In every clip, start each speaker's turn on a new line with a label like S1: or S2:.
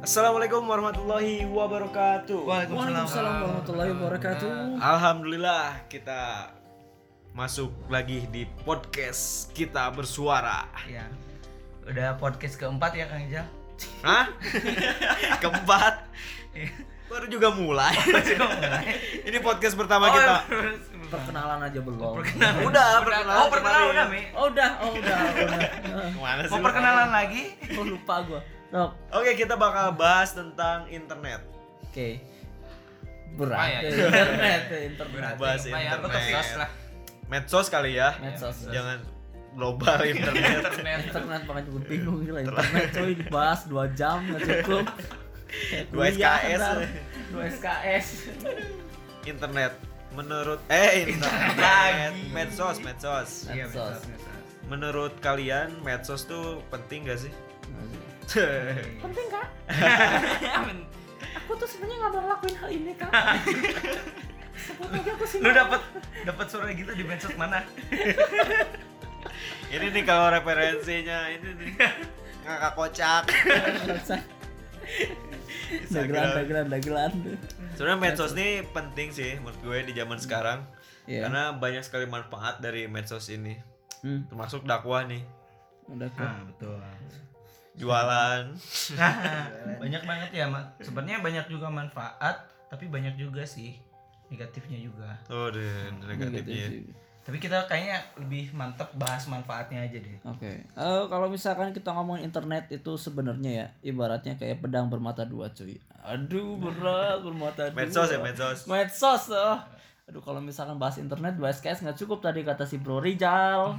S1: Assalamualaikum warahmatullahi wabarakatuh.
S2: Waalaikumsalam warahmatullahi wabarakatuh.
S1: Alhamdulillah kita masuk lagi di podcast kita bersuara.
S2: Ya. Udah podcast keempat ya Kang Ijal?
S1: Hah? Keempat. Baru juga mulai. Ini podcast pertama Iya, kita.
S3: Perkenalan aja belum.
S2: Oh, Perkenalan.
S1: Udah, perkenalan
S2: Oh, perkenalan
S1: kemarin.
S2: udah, Mi.
S3: Oh udah, oh udah, udah.
S1: Kemana sih
S2: Mau
S1: lu?
S2: perkenalan lagi?
S3: Oh lupa gua. No.
S1: Oke, kita bakal bahas tentang internet.
S3: Oke. Berat.
S2: Apa ya?
S3: Eh, Internet, eh, internet.
S2: Berat.
S1: Bahas
S2: Apa ya,
S1: internet.
S2: medsos lah.
S1: Medsos kali ya.
S3: Medsos.
S1: Jangan global internet.
S3: Internet makanya gue bingung gila internet coy dibahas 2 jam nggak cukup. Kayak
S1: Dua
S3: kuliah,
S1: SKS.
S3: ntar. Dua SKS.
S1: internet menurut eh internet
S2: Lagi.
S1: medsos medsos
S2: Iya,
S3: Medsos.
S2: medsos, medsos.
S1: menurut kalian medsos tuh penting gak sih
S3: Penting kak?
S1: Iya.
S3: Aku tuh sebenarnya nggak mau ngelakuin hal ini kak. Sebetulnya aku sih.
S2: Lu dapat dapat suara gitu di medsos mana?
S1: ini nih kalau referensinya ini nih ngakak kocak
S3: Dagelan, dagelan, dagelan.
S1: sebenarnya medsos Hmm. nih penting sih menurut gue di zaman sekarang
S3: Iya.
S1: karena banyak sekali manfaat dari medsos ini
S3: Hmm,
S1: termasuk dakwah nih
S3: udah kok.
S1: Ah,
S2: Nah, betul.
S1: jualan
S2: banyak banget ya, Mak. Sebenarnya banyak juga manfaat, tapi banyak juga sih negatifnya juga.
S1: tuh deh
S2: iya.
S1: negatifnya ya.
S3: Negatif.
S2: Tapi kita kayaknya lebih mantep bahas manfaatnya aja deh.
S3: Oke, Eh, kalau misalkan kita ngomongin internet itu sebenarnya ya ibaratnya kayak pedang bermata dua cuy. Aduh berat bermata dua.
S1: medsos ya medsos
S3: Medsos, oh. Aduh kalau misalkan bahas internet dua SKS nggak cukup tadi kata si Bro Rijal.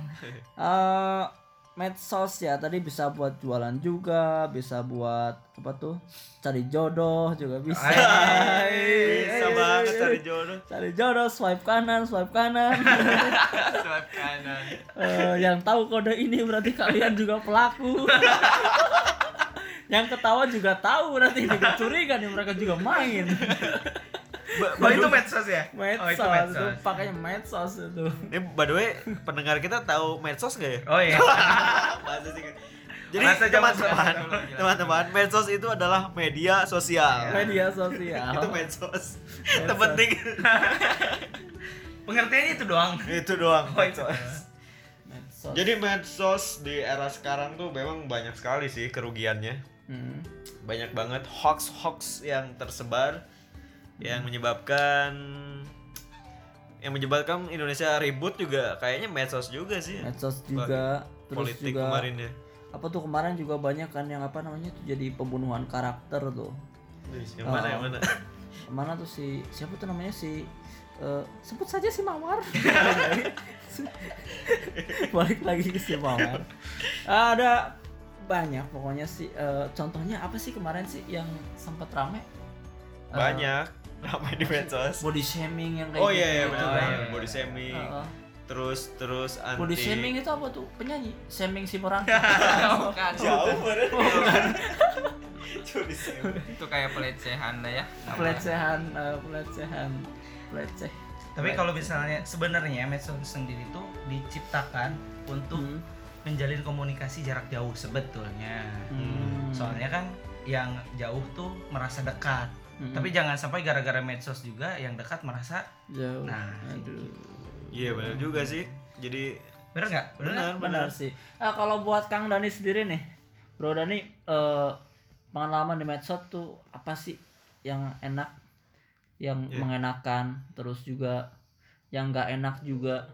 S3: Eh, medsos ya tadi bisa buat jualan juga, bisa buat apa tuh cari jodoh juga bisa.
S1: Hai, bisa banget cari jodoh
S3: Cari jodoh, swipe kanan, swipe kanan.
S2: Swipe kanan.
S3: Eh, yang tahu kode ini berarti kalian juga pelaku. yang ketawa juga tahu berarti ini curiga nih mereka juga main.
S2: Oh, itu medsos ya?
S3: Medsos,
S2: Oh, itu
S3: itu
S2: medsos.
S3: pakainya medsos itu.
S1: ini by the way pendengar kita tahu medsos gak ya
S2: Oh iya.
S1: bahasa sih. Jadi
S2: Bahasa zaman
S1: teman-teman,
S2: sekarang.
S1: teman-teman, medsos itu adalah media sosial.
S3: Iya. Media sosial.
S1: Itu medsos. Itu penting.
S2: Pengertiannya itu doang.
S1: itu doang.
S2: Oh, itu.
S1: medsos.
S3: medsos.
S1: Jadi medsos di era sekarang tuh memang banyak sekali sih kerugiannya.
S3: Hmm.
S1: Banyak banget hoax-hoax yang tersebar yang menyebabkan yang menyebabkan Indonesia ribut juga kayaknya medsos juga sih. ya.
S3: Medsos juga terus
S1: Politik
S3: juga
S1: kemarin ya.
S3: apa tuh kemarin juga banyak kan yang apa namanya tuh jadi pembunuhan karakter tuh.
S1: Wih, Yang mana
S3: Oh.
S1: yang mana?
S3: Mana tuh si siapa tuh namanya si eh, sebut saja si Mawar. Balik lagi ke si Mawar. Ah, Ada banyak pokoknya sih eh, contohnya apa sih kemarin sih yang sempat rame? Eh,
S1: Banyak ramai di medsos.
S3: body shaming yang kayak
S1: Oh iya iya
S3: gitu.
S1: benar
S2: Oh,
S1: benar.
S2: iya.
S1: body shaming.
S3: Heeh.
S1: Terus terus anti.
S3: Body shaming itu apa tuh? Penyanyi, shaming si orang.
S4: bukan
S1: Jauh bener. Body shaming.
S4: itu kayak pelecehan lah ya
S3: pelecehan, eh, pelecehan, peleceh.
S2: Tapi kalau misalnya sebenarnya medsos sendiri itu diciptakan untuk
S3: Hmm.
S2: menjalin komunikasi jarak jauh sebetulnya.
S3: Hmm.
S2: Soalnya kan yang jauh tuh merasa dekat.
S3: Mm-mm.
S2: Tapi jangan sampai gara-gara medsos juga yang dekat merasa
S3: jauh.
S2: Nah,
S3: Aduh.
S1: Iya benar juga sih. Jadi
S2: bener nggak? Bener. nggak?
S1: benar benar.
S3: Benar sih. Ah, kalau buat Kang Dani sendiri nih, Bro Dani eh, pengalaman di medsos tuh apa sih yang enak, yang
S1: Iya.
S3: mengenakan, terus juga yang nggak enak juga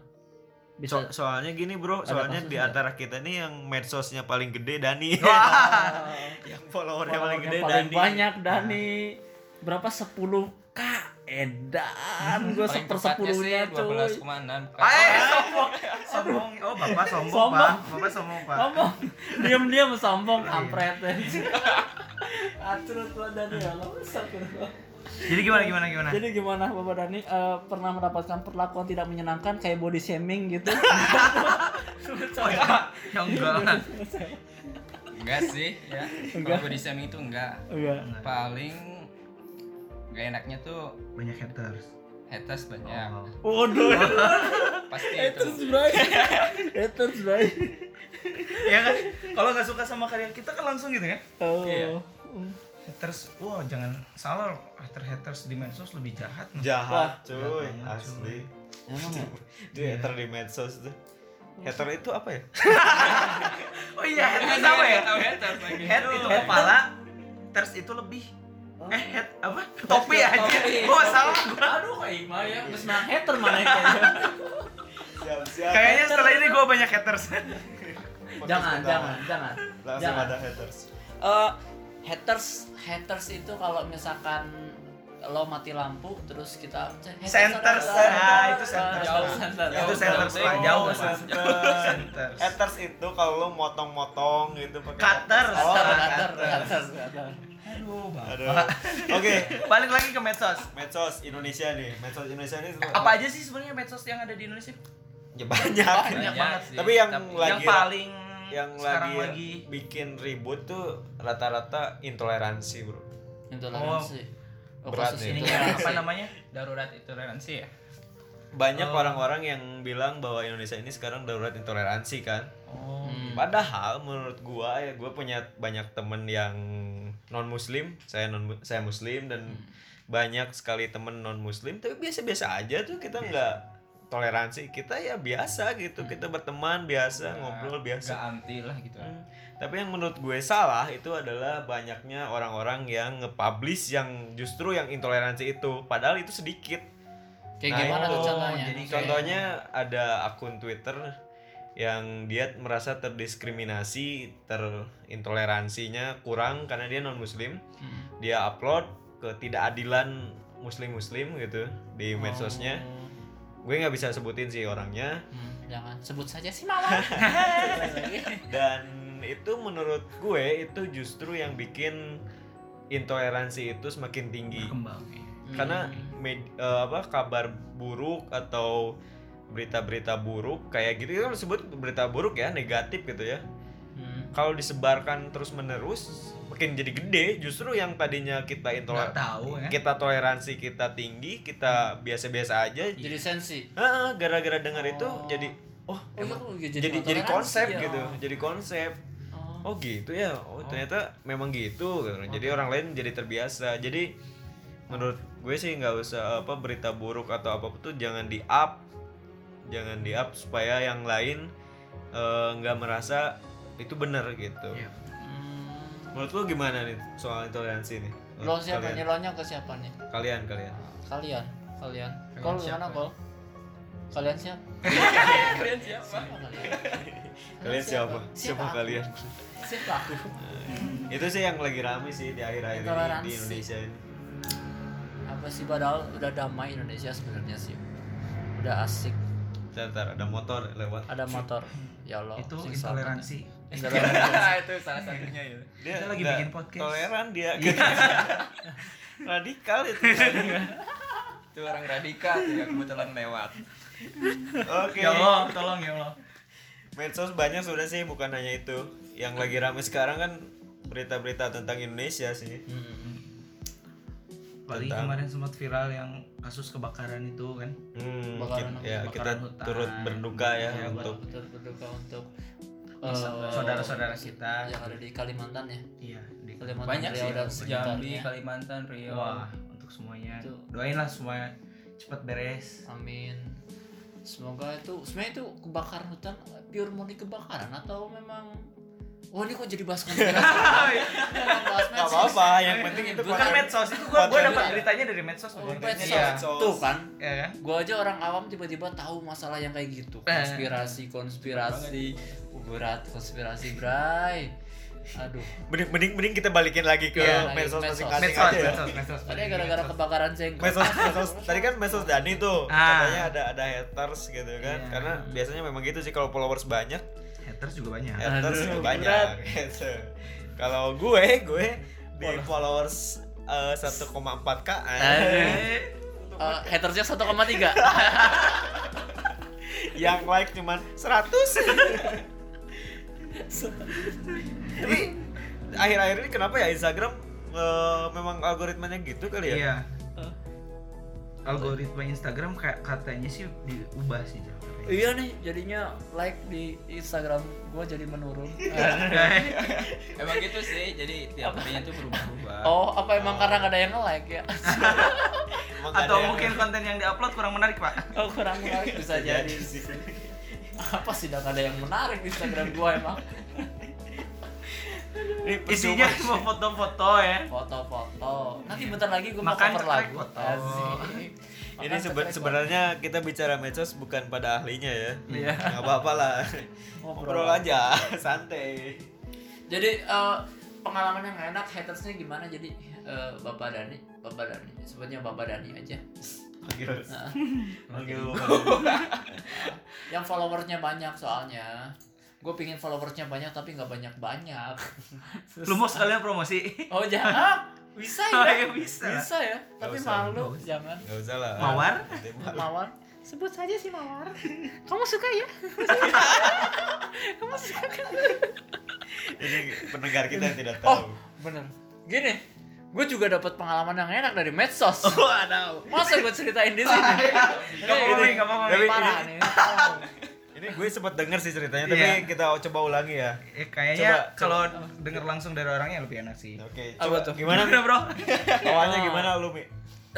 S1: So-
S3: bisa.
S1: soalnya gini bro,
S3: Ada
S1: soalnya
S3: kasus
S1: di
S3: nggak?
S1: antara kita nih yang medsosnya paling gede Dani.
S3: Ah,
S1: yang followernya paling
S3: paling,
S1: gede
S3: paling
S1: Dani.
S3: banyak Dani. Berapa 10 k edan gue
S4: Paling
S3: seper
S4: tepatnya sih
S3: sepuluhnya cuy
S4: 12,6 bukan-
S2: Eh, sombong, sombong. Oh, bapak sombong,
S3: Sombong.
S2: pak. Bapak sombong pak.
S3: Sombong. Diam-diam sombong kampret. Acurut lo Dani ya lo. Astagfirullah.
S2: Jadi gimana gimana gimana?
S3: Jadi gimana Bapak Dani eh, pernah mendapatkan perlakuan tidak menyenangkan kayak body shaming gitu?
S2: Oh, ya. ya enggak lah.
S4: enggak sih ya
S3: Enggak.
S4: kalau body shaming itu enggak
S3: Enggak.
S4: paling enggak enaknya tuh
S2: Banyak haters.
S4: haters
S1: Ya.
S4: banyak
S2: Oh.
S3: Waduh,
S4: pasti itu
S3: haters bray. Haters
S2: Iya
S3: bray.
S2: ya kan kalau nggak suka sama karya kita kan langsung gitu kan
S3: Oh.
S4: Iya.
S2: haters wah jangan salah hater haters di medsos lebih jahat men.
S3: Wah,
S1: Jahat cuy,
S2: jahat banget,
S1: asli.
S3: Emang ya?
S1: Itu hater di medsos tuh.
S3: Iya.
S1: Hater itu apa ya?
S2: oh iya haters
S4: Tahu
S2: apa ya
S4: Tahu gitu. haters lagi.
S2: head itu
S4: Aduh.
S2: kepala haters itu lebih
S3: Oh.
S2: eh head apa topi
S3: Topi,
S2: aja
S3: topi.
S2: oh salah
S3: Aduh kayak mah ya, terus nah hater mana ya?
S1: Siap-siap.
S2: kayaknya setelah ini gue banyak haters
S1: Podcast
S3: Jangan,
S1: pertama.
S3: jangan, jangan.
S1: Langsung
S3: jangan.
S1: ada haters.
S3: Eh, haters haters itu kalau misalkan lo mati lampu terus kita haters
S2: Centers,
S3: adalah-
S2: ah, itu centers.
S3: jauh center
S2: itu
S4: Jauh,
S2: haters
S4: jauh,
S2: lah
S4: jauh.
S2: jauh lah
S1: Haters.
S2: Haters.
S1: Haters itu kalau lu motong-motong gitu pakai
S2: Cutters.
S1: Oh,
S3: Cutter,
S1: cutter.
S3: cutter, cutter, cutter.
S2: aduh
S1: Aduh.
S2: bapak
S1: Oke,
S2: balik lagi ke medsos
S1: medsos Indonesia nih. Medsos Indonesia ini semua-
S2: apa aja sih sebenarnya medsos yang ada di Indonesia
S1: Ya banyak.
S2: Banyak banget.
S4: sih,
S1: Tapi yang lagi-
S2: yang ya. paling
S1: Yang
S2: sekarang
S1: lagi, bikin ribut tuh rata-rata intoleransi, Bro.
S3: Intoleransi. Oh,
S1: Berat
S3: kasus
S1: nih.
S2: ini
S3: ini
S2: Iya, apa namanya
S4: darurat itu toleransi ya.
S1: Banyak
S2: Oh.
S1: orang-orang yang bilang bahwa Indonesia ini sekarang darurat intoleransi kan.
S2: oh
S3: Hmm.
S1: Padahal menurut gua ya gua punya banyak temen yang non muslim, saya non saya muslim dan
S2: Hmm.
S1: banyak sekali temen non muslim tapi biasa-biasa aja tuh kita nggak toleransi kita ya biasa gitu
S2: Hmm.
S1: kita berteman
S2: Iya.
S1: biasa ngobrol biasa
S4: Gak anti lah gitu.
S1: Hmm. tapi yang menurut gue salah itu adalah banyaknya orang-orang yang nge-publish yang justru yang intoleransi itu padahal itu sedikit
S3: Kayak
S1: Nah,
S3: gimana tuh
S1: itu.
S3: contohnya?
S2: Jadi
S1: Oke. Contohnya ada akun Twitter yang dia merasa terdiskriminasi, terintoleransinya kurang karena dia non muslim.
S3: Hmm.
S1: Dia upload ketidakadilan muslim-muslim gitu di
S3: Oh.
S1: medsosnya. Gue nggak bisa sebutin sih orangnya
S3: Hmm, jangan sebut saja sih Hmm. mawar.
S1: dan itu menurut gue itu justru yang bikin intoleransi itu semakin tinggi.
S2: berkembang
S1: karena med- eh, apa kabar buruk atau berita-berita buruk kayak gitu itu kan disebut berita buruk ya negatif gitu ya
S3: Hmm.
S1: kalau disebarkan terus menerus makin jadi gede justru yang tadinya kita
S2: nggak
S1: intoleran
S2: tahu ya
S1: kita toleransi kita tinggi kita biasa-biasa aja
S3: jadi sensi.
S1: Heeh, gara-gara dengar itu
S3: Oh.
S1: jadi oh
S3: Iya. Oh, iya,
S1: emang-
S3: kok
S1: jadi jadi,
S3: intoleransi
S1: konsep
S3: ya?
S1: gitu jadi konsep oh
S3: Oh.
S1: gitu ya oh, ternyata memang gitu gitu. jadi orang lain jadi terbiasa jadi menurut gue sih nggak usah apa berita buruk atau apa tuh jangan di up jangan di up supaya yang lain eh, nggak merasa itu benar gitu
S2: Iya.
S3: Hmm.
S1: menurut lo gimana nih soal intoleransi nih
S3: Lo
S1: Menurut
S3: siapa nih?
S1: kalian,
S3: Lo nya ke siapa nih?
S1: kalian kalian
S3: Kalian, kalian.
S4: Kalian
S3: Kol
S4: siapa?
S3: gimana kol? Kalian siapa?
S4: Kalian siapa?
S3: Siapa kalian?
S1: kalian siapa siapa
S3: aku?
S1: kalian
S3: Siapa aku?
S1: itu sih yang lagi rame sih di akhir-akhir ini di
S3: Intoleransi.
S1: Indonesia ini
S3: Apa sih padahal udah damai Indonesia sebenarnya sih. Udah asik,
S1: Ntar, ntar, ada motor lewat
S3: ada motor. Ya Allah.
S2: itu
S3: sing selamat.
S2: intoleransi
S3: Intoleransi.
S4: Nah, itu salah satunya ya.
S1: dia
S2: Kita lagi
S1: nggak
S2: bikin podcast. Iya.
S1: toleran dia radikal itu
S4: Itu orang radikal tuh yang kebetulan lewat.
S1: oke
S2: ya Allah tolong ya Allah
S1: medsos banyak sudah sih bukan hanya itu yang lagi rame sekarang kan berita-berita tentang Indonesia sih
S2: paling
S1: Tentang-
S2: kemarin sempat viral yang kasus kebakaran itu kan
S1: hmm,
S3: Kebakaran
S1: kita, ya
S2: hutan.
S1: kita
S2: Kebakaran
S1: turut
S2: hutan.
S1: berduka ya
S2: Iya,
S1: untuk
S3: Hmm. Betul berduka untuk
S2: Saudara-
S3: eh,
S2: saudara-saudara kita.
S3: yang ada di Kalimantan ya.
S2: iya di
S3: Kalimantan
S4: Banyak
S3: Riau
S4: sih
S3: dan
S4: Jambi,
S3: sekitarnya.
S4: Kalimantan, Riau.
S2: ya. wah untuk semuanya
S3: Itu.
S2: doainlah semua cepat beres
S3: Amin. Semoga itu sebenarnya itu kebakaran hutan pure murni kebakaran atau memang Wah ini kok jadi bahas konspirasi? Bukan bahas
S1: nggak
S3: medsos.
S1: apa-apa yang penting itu
S3: Bukan
S2: bukan
S1: konten.
S2: medsos itu gua gua
S1: Konten.
S2: dapat beritanya dari medsos
S3: Oh,
S2: bukan
S3: medsos.
S2: dari-
S1: medsos.
S3: Tuh kan,
S2: Iya kan
S3: gua aja orang awam tiba-tiba tahu masalah yang kayak gitu.
S2: Eh.
S3: Konspirasi, konspirasi, Uh, berat konspirasi, Bray. Aduh.
S1: mending mending mending kita balikin lagi ke
S3: Iya, lagi
S1: medsos
S3: medsos.
S1: masing-kasing
S2: medsos
S1: aja ya.
S2: medsos medsos
S3: Tadi gara-gara
S2: iya.
S3: kebakaran Eh, jenggot.
S1: Mesos, mesos, tadi kan mesos Dani tuh
S2: Ah.
S1: katanya ada ada haters gitu kan
S2: Iya.
S1: karena biasanya memang gitu sih kalau followers banyak
S2: haters juga banyak
S1: haters
S3: Aduh,
S1: juga
S3: berat.
S1: Ya, banyak gitu. kalau gue gue di followers eh, 1,4 k
S3: Aduh. Eh, hatersnya 1,3.
S1: yang like cuman 100 tapi akhir-akhir ini kenapa ya Instagram eh, memang algoritmanya gitu kali ya
S2: iya algoritma Instagram kayak katanya sih diubah sih Jal, katanya.
S3: Iya nih, jadinya like di Instagram gua jadi menurun. Eh.
S4: Emang gitu sih, jadi tiap harinya tuh berubah-ubah.
S3: Oh, apa emang karena nggak ada yang nge-like ya?
S1: Emang nggak
S2: Atau
S1: ada yang-
S2: mungkin konten yang diupload kurang menarik pak?
S3: Oh, kurang menarik bisa jadi. Apa sih nggak ada yang menarik di Instagram gua emang?
S2: Isinya cuma foto-foto ya.
S3: Foto-foto. Nanti bentar lagi gua mau
S2: Makan
S3: cover
S2: cekrek
S3: lagu.
S2: foto.
S3: Asik.
S1: Ini
S3: Makan
S1: seben-
S3: cekrek
S1: sebenarnya kita bicara medsos bukan pada ahlinya ya.
S2: Iya.
S1: Enggak apa-apa lah.
S3: foto.
S1: Ngobrol aja, santai.
S3: Jadi eh, pengalaman yang enak hatersnya gimana? Jadi eh, Bapak Dani, Bapak Dani, sebutnya Bapak Dani aja.
S1: Panggil.
S3: Nah,
S1: Panggil.
S3: yang followersnya banyak soalnya. Gue pingin followersnya banyak tapi nggak banyak banyak.
S2: Lu mau sekalian promosi?
S3: Oh jangan, bisa ya?
S2: Ya, bisa.
S3: Bisa ya, tapi
S1: usah.
S3: malu jangan.
S1: Enggak usah lah.
S2: Mawar?
S1: Nanti malu.
S3: Mawar, sebut saja si Mawar. Kamu suka ya? Kamu suka kan?
S1: Ini pendengar kita yang tidak
S3: Oh,
S1: tahu.
S3: bener. Gini, gue juga dapat pengalaman yang enak dari medsos.
S2: Waduh.
S3: Masa gue ceritain di sini? Ini-
S2: Gak apa-apa,
S3: ini-
S2: gak apa-apa.
S1: Iya.
S3: ini
S1: Tapi-
S3: parah nih. ini parah.
S1: Ini gue sempat denger sih ceritanya,
S2: Iya.
S1: tapi kita coba ulangi ya.
S2: Ya, kayaknya
S1: Coba,
S2: kalau denger langsung dari orangnya lebih enak sih.
S1: Oke,
S3: Apa
S1: coba
S3: tuh?
S1: gimana?
S2: Gimana, bro?
S1: Awalnya gimana lu, Mi?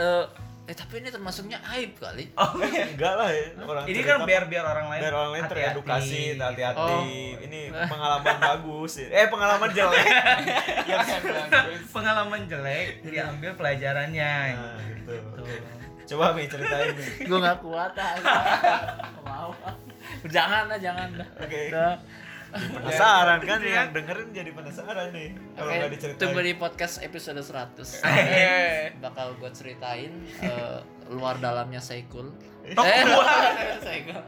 S3: Eh, eh tapi ini termasuknya aib kali.
S1: Enggak lah ya, orang
S2: Oh. Ini
S1: cerita
S2: kan biar biar orang lain
S1: biar orang lain
S2: hati-hati. gitu.
S1: teredukasi, hati-hati.
S3: Oh.
S1: Ini pengalaman bagus. Eh, pengalaman jelek.
S4: Yang bagus.
S2: Pengalaman jelek diambil pelajarannya.
S1: Iya. Nah, gitu.
S2: Tuh.
S1: Coba Mi ceritain Mi.
S3: gue nggak kuat ah. Nggak Mau. ah. Jangan lah, Nah, jangan dah.
S1: Oke.
S3: Dah.
S1: Penasaran kan yang dengerin jadi penasaran nih. Kalau
S3: Oke,
S1: nggak diceritain.
S3: tunggu di podcast episode 100 Bakal gue ceritain eh, luar dalamnya Saikul Eh, luar dalamnya Saikul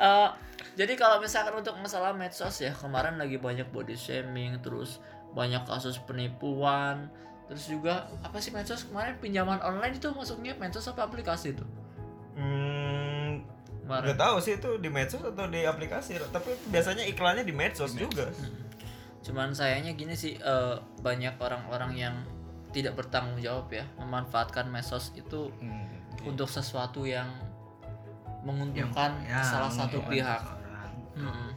S3: Eh, Jadi kalau misalkan untuk masalah medsos ya Kemarin lagi banyak body shaming Terus banyak kasus penipuan Terus juga apa sih medsos kemarin pinjaman online itu masuknya medsos apa aplikasi itu?
S1: Hmm,
S3: Kemarin.
S1: Gak tahu sih itu di medsos atau di aplikasi, tapi biasanya iklannya di medsos juga.
S3: Hmm. Cuman sayangnya gini sih eh, banyak orang-orang yang tidak bertanggung jawab ya memanfaatkan medsos itu
S2: Hmm. Iya.
S3: untuk sesuatu yang
S2: Ya,
S3: menguntungkan kan
S2: iya.
S3: salah
S2: mungkin
S3: satu
S2: orang
S3: pihak.
S2: seseorang.
S3: Mm-mm.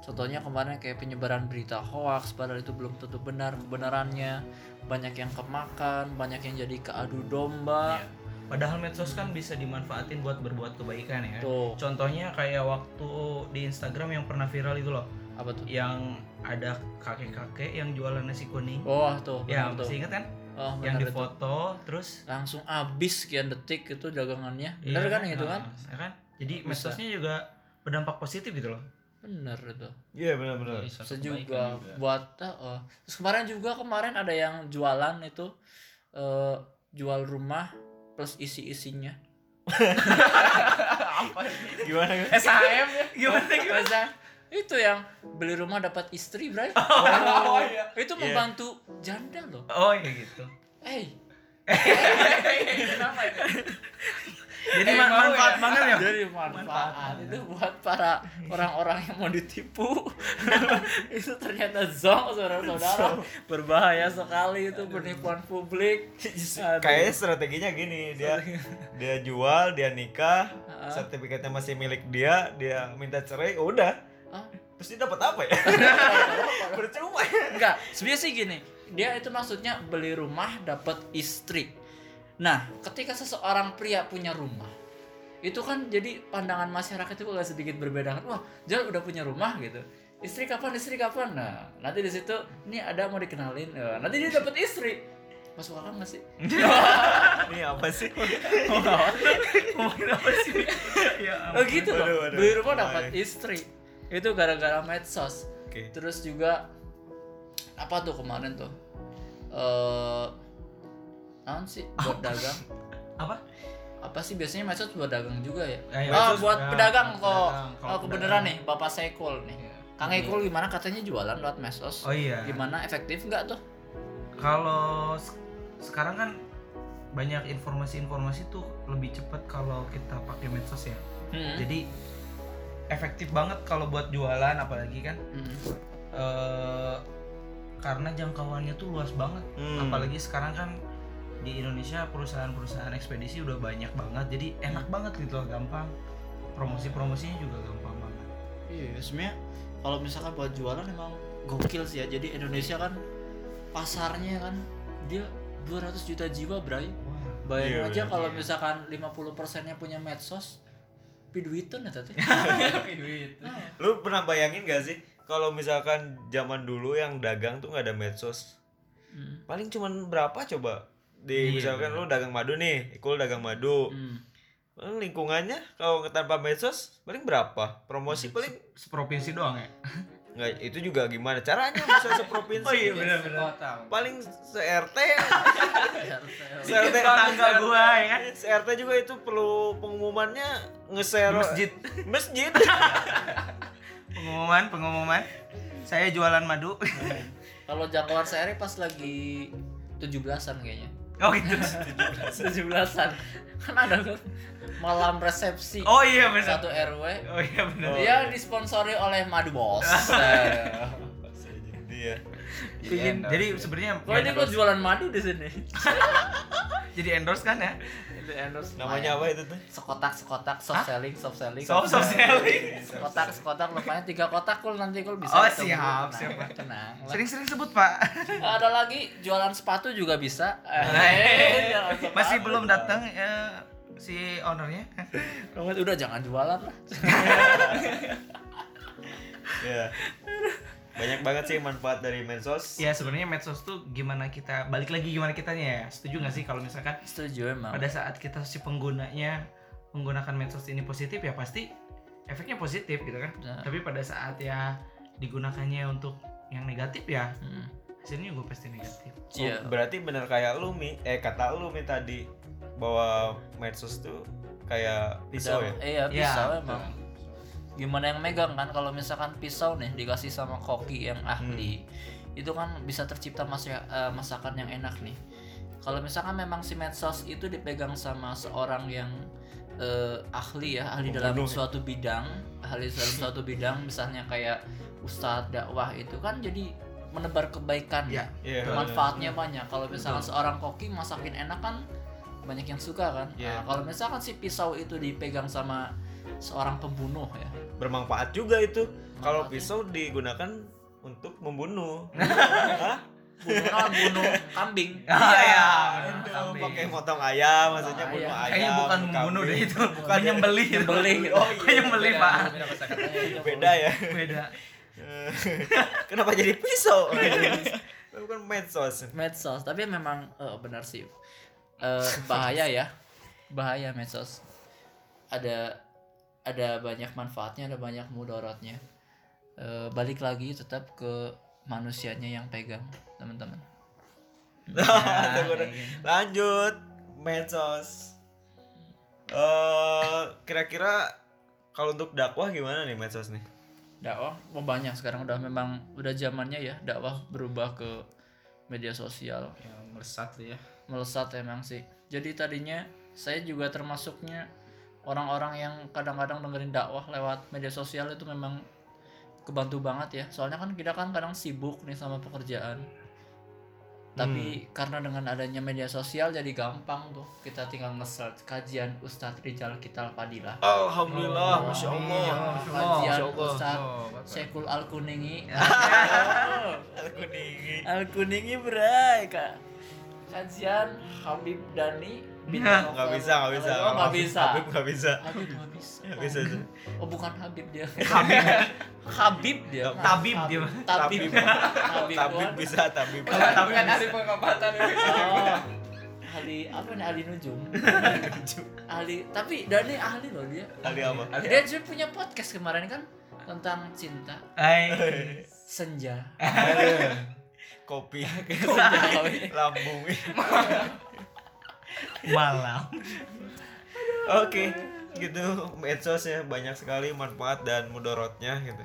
S3: Contohnya kemarin kayak penyebaran berita hoax padahal itu belum tentu benar kebenarannya. Banyak yang kemakan, banyak yang jadi keadu domba.
S2: Iya. Padahal medsos kan bisa dimanfaatin buat berbuat kebaikan ya.
S3: Tuh,
S2: Contohnya kayak waktu di Instagram yang pernah viral itu loh,
S3: apa tuh?
S2: yang ada kakek-kakek yang jualan nasi kuning.
S3: Wah, tuh,
S2: ya,
S3: Oh, benar tuh.
S2: masih ingat kan?
S3: Oh,
S2: yang
S3: benar
S2: di
S3: itu.
S2: foto terus
S3: Langsung habis sekian detik itu dagangannya. Benar
S2: Iya,
S3: kan yang itu kan?
S2: nah, ya kan? Jadi
S3: Bisa.
S2: medsosnya juga berdampak positif gitu loh.
S3: Benar itu.
S1: Iya benar-benar.
S2: Jadi suatu
S3: sejuga
S2: kebaikan juga.
S3: buat oh, oh. terus kemarin juga kemarin ada yang jualan itu eh, jual rumah plus isi isinya
S4: Apa sih?
S1: Gimana? Gus?
S3: SHM
S2: Gimana gimana?
S3: itu yang beli rumah dapat istri bray
S4: Oh iya.
S1: Iya.
S3: itu membantu janda loh
S2: Oh ya gitu.
S3: hey ya?
S2: Jadi
S4: Eh,
S2: man-
S3: oh,
S4: mau
S3: iya.
S2: manfaat
S4: ya?
S2: banget ya.
S3: dari manfaat itu buat para orang-orang yang mau ditipu itu ternyata zong saudara-saudara berbahaya sekali itu penipuan publik Aduh.
S1: Kayaknya strateginya gini, dia dia jual, dia nikah,
S3: Heeh.
S1: sertifikatnya masih milik dia, dia minta cerai, udah.
S3: Hah?
S1: Terus dia dapat apa ya? Percuma. ya.
S3: Enggak, sebenarnya sih gini. Dia itu maksudnya beli rumah dapat istri. Nah, ketika seseorang pria punya rumah, itu kan jadi pandangan masyarakat itu agak sedikit berbeda kan. Wah, Jal udah punya rumah gitu. Istri kapan? Istri kapan? Nah, nanti di situ ini ada mau dikenalin. Eh, nanti dia dapat istri. Masuk akal nggak sih?
S1: Ini apa sih?
S2: Ngomongin apa sih? Ya
S3: Oh gitu
S1: Waduh,
S3: loh.
S1: waduh.
S3: Beli rumah
S1: Baik.
S3: dapat istri. Itu gara-gara medsos.
S1: Oke.
S3: Terus juga apa tuh kemarin tuh? Eh naon sih buat dagang?
S2: Apa?
S3: Apa sih biasanya medsos buat dagang juga ya?
S2: Eh,
S3: Ah,
S2: medsos buat
S3: buat pedagang Iya.
S2: pedagang.
S3: kok.
S2: Kalau
S3: Oh,
S2: pedagang.
S3: kebenaran nih, Bapak Saikul nih. Kang Ekul gimana katanya jualan lewat medsos?
S2: Oh iya.
S3: Gimana efektif nggak tuh?
S2: Kalau se- sekarang kan banyak informasi-informasi tuh lebih cepat kalau kita pakai medsos ya.
S3: Hmm.
S2: Jadi efektif banget kalau buat jualan apalagi kan
S3: Hmm.
S2: eh karena jangkauannya tuh luas banget.
S1: Hmm.
S2: Apalagi sekarang kan di Indonesia perusahaan-perusahaan ekspedisi udah banyak banget jadi enak banget gitu loh gampang promosi-promosinya juga gampang banget
S3: Iya, sebenarnya kalau misalkan buat jualan emang gokil sih ya. Jadi Indonesia kan pasarnya kan dia 200 juta jiwa, Bray.
S2: wah
S3: Bayangin
S1: Iya,
S3: aja
S1: iya.
S3: kalau misalkan 50%-nya punya medsos, piduitun ya Ah, tadi.
S4: Oke, duit.
S1: Lu pernah bayangin gak sih kalau misalkan zaman dulu yang dagang tuh nggak ada medsos?
S3: Hmm.
S1: Paling cuman berapa coba? Di
S2: Iya,
S1: misalkan lu dagang madu nih, Ikul dagang madu.
S3: Hmm.
S1: Paling lingkungannya kalau tanpa medsos paling berapa? Promosi paling
S2: seprovinsi doang ya
S1: nggak itu juga gimana caranya bisa seprovinsi?
S2: Oh iya,
S1: Paling se-RT,
S3: Iya,
S1: se-RT
S2: tetangga gua ya kan
S1: CRT juga itu perlu pengumumannya nge-share
S2: masjid
S1: Masjid.
S2: pengumuman pengumuman saya jualan madu
S3: Kalau jangkauan sehari pas lagi 17-an kayaknya.
S2: oh gitu
S3: 17-an. Kan ada tuh malam resepsi
S2: oh iya benar
S3: satu RW.
S2: oh iya benar
S3: Dia disponsori oleh Madu Bos.
S1: Iya.
S4: Iya,
S2: Pingin- jadi sebenarnya
S3: Kok ini kok jualan madu di sini?
S2: jadi endorse kan ya
S1: Namanya apa itu tuh?
S3: Sekotak sekotak soft selling soft selling.
S2: soft soft selling
S3: Sekotak sekotak lupanya tiga kotak kul nanti kul bisa.
S2: Oh,
S3: ketemu.
S2: siap, siap.
S3: Tenang, Tenang. lah.
S2: sering-sering sebut pak
S3: Ada lagi jualan sepatu juga bisa.
S2: Eh,
S3: Jualan sepatu.
S2: masih belum datang eh, si ownernya
S3: Romat, Udah jangan jualan lah.
S1: Iya. Banyak banget sih manfaat dari medsos.
S2: ya sebenarnya medsos tuh gimana kita balik lagi gimana kitanya ya setuju nggak sih kalau misalkan
S3: Setuju emang.
S2: pada saat kita si penggunanya menggunakan medsos ini positif ya pasti efeknya positif gitu kan
S3: Benar.
S2: tapi pada saat ya digunakannya untuk yang negatif ya
S3: Hmm.
S2: hasilnya juga pasti negatif
S1: Oh,
S3: Iya.
S1: Berarti bener kayak lu mi, eh kata lu mi tadi bahwa medsos tuh kayak pisau ya.
S3: Dan- Iya
S2: Iya,
S3: pisau emang. Gimana yang megang kan? Kalau misalkan pisau nih dikasih sama koki yang ahli,
S1: Hmm.
S3: itu kan bisa tercipta masya- eh, masakan yang enak nih. Kalau misalkan memang si medsos itu dipegang sama seorang yang eh, ahli ya, ahli dalam
S1: Pembunuh ya.
S3: suatu bidang, ahli dalam suatu bidang, misalnya kayak ustadz dakwah itu kan jadi menebar kebaikan
S2: Iya.
S3: ya
S1: Iya.
S3: manfaatnya banyak kalau misalkan seorang koki masakin enak kan banyak yang suka kan
S1: Iya.
S3: Nah, kalau misalkan si pisau itu dipegang sama seorang pembunuh ya
S1: Bermanfaat juga itu. Kalau
S3: Manfaatnya.
S1: pisau digunakan untuk membunuh.
S3: bunuh orang kan bunuh kambing
S2: Ah, iya,
S3: Nah,
S2: bener.
S1: Itu
S2: Kambing.
S1: gitu. Pakai motong ayam maksudnya
S3: Ayam.
S1: bunuh ayam.
S2: iya. kayaknya bukan
S1: bunuh
S2: membunuh deh
S1: kambing.
S2: itu bukan menyembelih itu.
S3: Nyembelih.
S2: oh iya nyembelih pak
S1: Beda ya.
S2: beda
S1: Kenapa jadi pisau?
S2: Iya,
S1: bukan medsos.
S3: medsos tapi memang eh, benar sih Eh, bahaya ya bahaya medsos ada ada banyak manfaatnya ada banyak mudaratnya Eh, balik lagi tetap ke manusianya yang pegang teman-teman
S1: Nah,
S2: iya.
S1: Lanjut medsos. Eh kira-kira kalau untuk dakwah gimana nih medsos nih?
S3: dakwah mau banyak sekarang udah memang udah zamannya ya dakwah berubah ke media sosial
S4: Yang melesat tuh ya.
S3: melesat emang sih jadi tadinya saya juga termasuknya orang-orang yang kadang-kadang dengerin dakwah lewat media sosial itu memang kebantu banget ya soalnya kan kita kan kadang sibuk nih sama pekerjaan tapi karena dengan adanya media sosial jadi gampang tuh kita tinggal nge-search kajian Ustadz Rijal Kital Padilah
S1: Alhamdulillah, Oh, iya, masya Allah.
S3: kajian
S1: Masya Allah.
S3: Ustadz Syekhul Al-Kuningi
S1: Aku nih.
S3: Al-Kuningi berai kak Kajian Habib Dani bintang
S1: Nggak
S3: hotel.
S1: bisa, nggak bisa.
S3: Oh nggak bisa
S1: Habib nggak bisa.
S3: Habib nggak bisa
S1: Nggak bisa. tuh.
S3: Oh bukan Habib dia Habib Habib dia
S1: Nggak,
S2: tabib dia.
S3: Tabib
S1: Tabib.
S3: Tabib
S1: Tabib
S3: doang.
S1: bisa, tabib.
S4: Tapi kan ahli pengobatan.
S3: Oh. Ahli apa nih ahli nujum ahli tapi Dani ahli loh dia
S1: Ahli apa?
S3: dia juga punya podcast kemarin kan tentang cinta
S2: Hai.
S3: senja
S1: Kopi,
S3: senja
S1: lambung.
S2: malam
S1: Oke, gitu medsosnya banyak sekali manfaat dan mudorotnya gitu.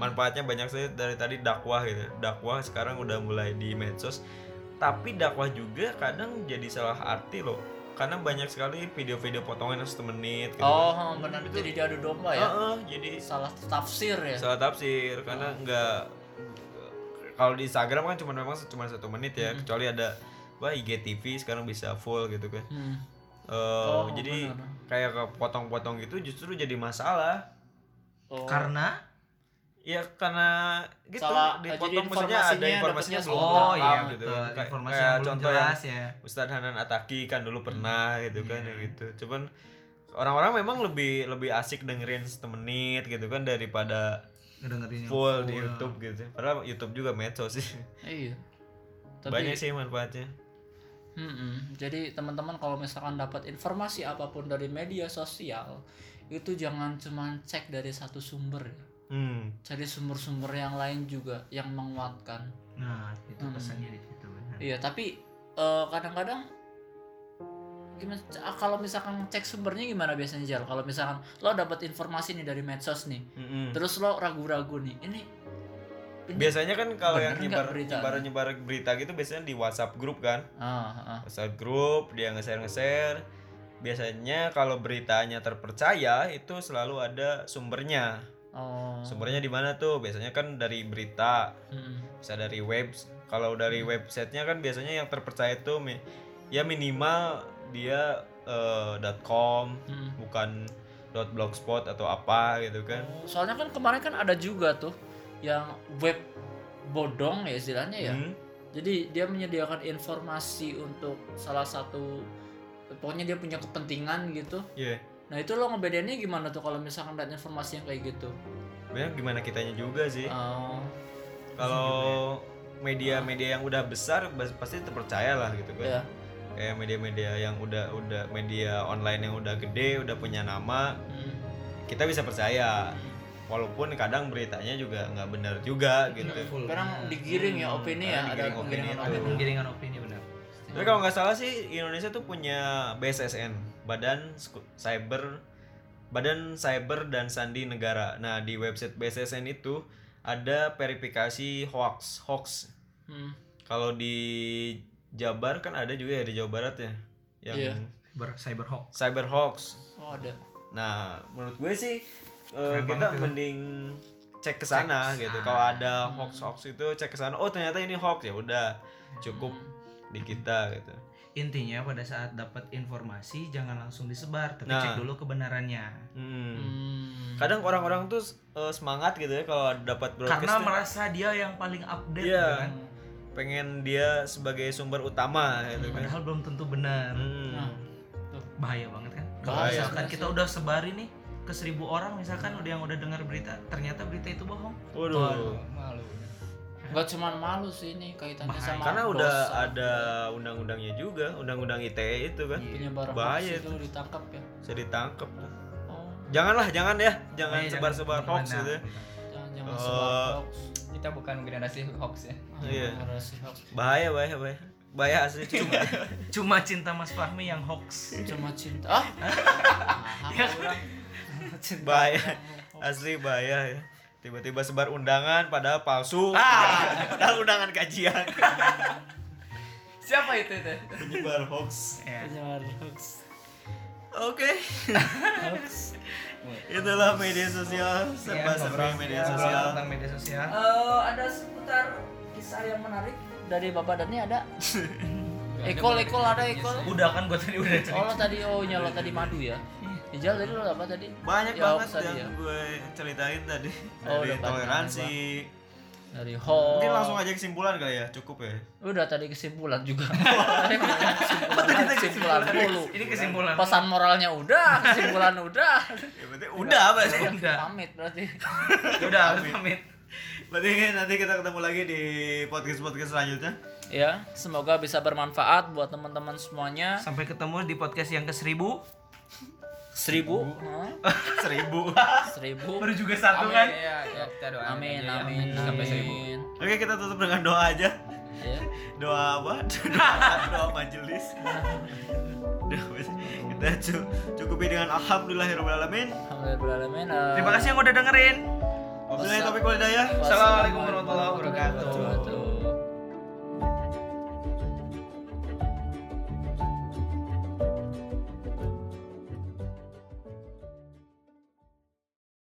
S1: Manfaatnya banyak sekali dari tadi dakwah gitu. Dakwah sekarang udah mulai di medsos. Tapi dakwah juga kadang jadi salah arti loh. Karena banyak sekali video-video potongan yang satu menit gitu.
S3: oh benar jadi diadu domba ya
S1: Heeh, jadi
S3: salah tafsir ya
S1: salah tafsir
S2: Oh. Hmm.
S1: karena nggak kalau di Instagram kan cuma memang cuma satu menit ya, kecuali ada wah IGTV sekarang bisa full gitu kan
S3: Hmm.
S1: Eh,
S3: Oh,
S1: jadi
S3: benar.
S1: kayak kepotong-potong gitu justru jadi masalah
S3: Oh.
S2: Karena
S1: ya karena gitu
S3: Salah, eh, jadi
S1: dipotong maksudnya ada
S3: informasinya
S1: informasinya
S3: dapetnya
S1: belum
S3: salah.
S2: oh
S3: paham
S2: iya
S1: gitu
S2: betul
S1: Kayak-
S2: informasi
S1: kayak
S2: yang belum
S1: contoh yang
S2: jelas ya.
S1: Ustadz Hanan Ataki kan dulu pernah gitu kan
S2: Iya.
S1: ya gitu. Cuman orang-orang memang lebih lebih asik dengerin semenit gitu kan daripada
S2: Ngedengerin yang
S1: full di YouTube gitu. Padahal YouTube juga medsos sih.
S3: Iya.
S1: Banyak sih manfaatnya.
S3: Mm-mm. Jadi teman-teman kalau misalkan dapat informasi apapun dari media sosial itu jangan cuman cek dari satu sumber,
S1: Hmm.
S3: cari sumber-sumber yang lain juga yang menguatkan.
S2: Nah, itu
S3: Hmm.
S2: pesannya di situ benar.
S3: Iya, tapi eh, kadang-kadang gimana ah, kalau misalkan cek sumbernya gimana biasanya Jal? Kalau misalkan lo dapat informasi nih dari medsos nih,
S1: Mm-mm.
S3: terus lo ragu-ragu nih, ini, ini-
S1: Biasanya kan kalau
S3: Bener
S1: yang
S3: nggak
S1: nyebar
S3: berita?
S1: nyebar nyebar berita gitu biasanya di WhatsApp grup kan.
S3: Ah, ah.
S1: WhatsApp grup dia nge-share nge-share. Biasanya kalau beritanya terpercaya itu selalu ada sumbernya.
S3: Oh.
S1: Sumbernya di mana tuh? Biasanya kan dari berita.
S3: Mm-mm.
S1: bisa dari web kalau dari websitenya kan biasanya yang terpercaya itu mi- ya minimal dia eh, .com
S3: Mm-mm.
S1: bukan .blogspot atau apa gitu kan
S3: Oh, Soalnya kan kemarin kan ada juga tuh yang web bodong ya istilahnya ya.
S1: Hmm,
S3: Jadi dia menyediakan informasi untuk salah satu pokoknya dia punya kepentingan gitu.
S1: iya.
S3: Nah, itu lo ngebedainnya gimana tuh kalau misalkan lihat informasi yang kayak gitu?
S1: Sebenarnya gimana kitanya juga sih
S3: Oh,
S1: kalau media-media yang udah besar bas- pasti terpercaya lah gitu kan
S3: ya.
S1: kayak media-media yang udah udah media online yang udah gede udah punya nama
S3: Hmm.
S1: kita bisa percaya walaupun kadang beritanya juga nggak benar juga gitu
S3: Sekarang digiring ya
S2: Hmm,
S3: opini
S1: karena
S3: ya, ada
S1: digiring opini itu.
S3: penggiringan
S2: Ada
S3: opini.
S2: gitu. penggiringan opini benar.
S1: Tapi kalau nggak salah sih Indonesia tuh punya BSSN, Badan Sku- Cyber Badan Cyber dan Sandi Negara. Nah, di website BSSN itu ada verifikasi hoax, hoax.
S3: Hmm.
S1: Kalau di Jabar kan ada juga ya di Jawa Barat ya yang
S3: Iya.
S2: Ber cyber hoax.
S1: cyber hoax.
S3: Oh, ada.
S1: Nah, menurut gue sih eh, kita
S2: Keren banget ya.
S1: mending cek ke sana
S2: Cek Nah.
S1: gitu.
S2: kesana.
S1: Kalau ada
S3: Hmm.
S1: hoax hoax itu cek ke sana. Oh, ternyata ini hoax ya udah cukup
S3: Hmm.
S1: di kita gitu.
S2: Intinya pada saat dapat informasi jangan langsung disebar, tapi
S1: Nah.
S2: cek dulu kebenarannya.
S1: Hmm.
S3: Hmm.
S1: kadang orang-orang tuh eh, semangat gitu ya kalau dapat broadcast
S2: Karena
S1: tuh
S2: merasa dia yang paling update
S1: Iya.
S2: gitu kan.
S1: pengen dia sebagai sumber utama gitu kan
S2: Padahal belum tentu benar.
S1: Hmm.
S3: Nah.
S2: bahaya banget kan kalau
S1: Bahaya.
S2: misalkan kita udah sebarin nih ke seribu orang misalkan udah yang udah dengar berita ternyata berita itu bohong
S1: waduh
S3: Nah.
S4: malu.
S3: Gak cuman malu sih ini kaitannya
S2: Bahaya.
S3: sama
S1: karena udah
S3: dosa.
S1: ada undang-undangnya juga undang-undang ITE itu kan
S3: penyebar
S1: Bahaya
S3: hoax itu
S1: itu.
S3: ditangkap ya.
S1: bisa ditangkep tuh.
S3: Oh,
S1: janganlah jangan ya jangan
S2: Makanya
S1: sebar-sebar
S2: jangan-
S1: hoax
S2: jangan-
S1: gitu ya.
S3: jangan jangan
S1: Eh,
S3: sebar hoax.
S4: Kita bukan generasi hoax ya.
S3: Ah,
S1: iya.
S3: generasi hoax.
S1: bahaya bahaya bahaya bahaya asli cuma
S2: cuma cinta Mas Fahmi yang hoax
S3: Cuma cinta. Ah. Ah,
S2: Ya.
S3: orang. Cinta
S1: Bahaya.
S3: orang.
S1: asli bahaya ya tiba-tiba sebar undangan padahal palsu
S3: Ah!
S1: padahal undangan kajian
S4: Siapa itu itu?
S1: penyebar hoax
S2: ya.
S3: Penyebar hoax.
S1: oke
S3: Hoax.
S1: itulah media sosial serba
S2: Ya,
S1: serba
S2: ngobrol-
S1: media
S2: ngobrol
S1: sosial
S2: tentang media sosial
S3: Eh, ada seputar kisah yang menarik dari Bapak Dani ada. Ekol, ekol, ada ekol.
S2: udah kan gue tadi udah
S3: Oh
S2: cerita
S3: lo tadi oh nyala tadi madu ya. Ijal tadi lo apa tadi?
S1: banyak
S3: Ya,
S1: banget
S3: hoax tadi
S1: yang
S3: ya.
S1: gue ceritain tadi dari
S3: Oh, udah banyak Oh.
S1: toleransi
S3: Dari hoax.
S1: mungkin langsung aja kesimpulan kali ya cukup ya
S3: Udah tadi kesimpulan juga. Tadi kesimpulan, kesimpulan dulu.
S2: ini kesimpulan
S3: Pesan moralnya udah, kesimpulan udah.
S1: ya berarti udah berarti
S2: udah
S3: Pamit berarti.
S2: udah
S1: Iya.
S2: harus pamit
S1: berarti nanti kita ketemu lagi di podcast podcast selanjutnya
S3: Ya, semoga bisa bermanfaat buat teman-teman semuanya.
S2: sampai ketemu di podcast yang ke seribu
S3: Seribu, Hah?
S1: seribu
S3: seribu.
S2: baru juga Iya, satu kan
S4: Ya, ya, kita doain
S3: Amin,
S4: aja ya.
S3: amin,
S4: Sampai seribu.
S3: amin.
S1: oke kita tutup dengan doa aja
S3: Ya.
S1: doa apa doa, doa majelis Doa majelis. kita cu- cukupi dengan alhamdulillahirobbilalamin
S3: Alhamdulillah, alamin. Eh,
S2: Iya. terima kasih yang udah dengerin
S1: wabillahi taufiq walhidayah
S2: Assalamualaikum warahmatullahi wabarakatuh.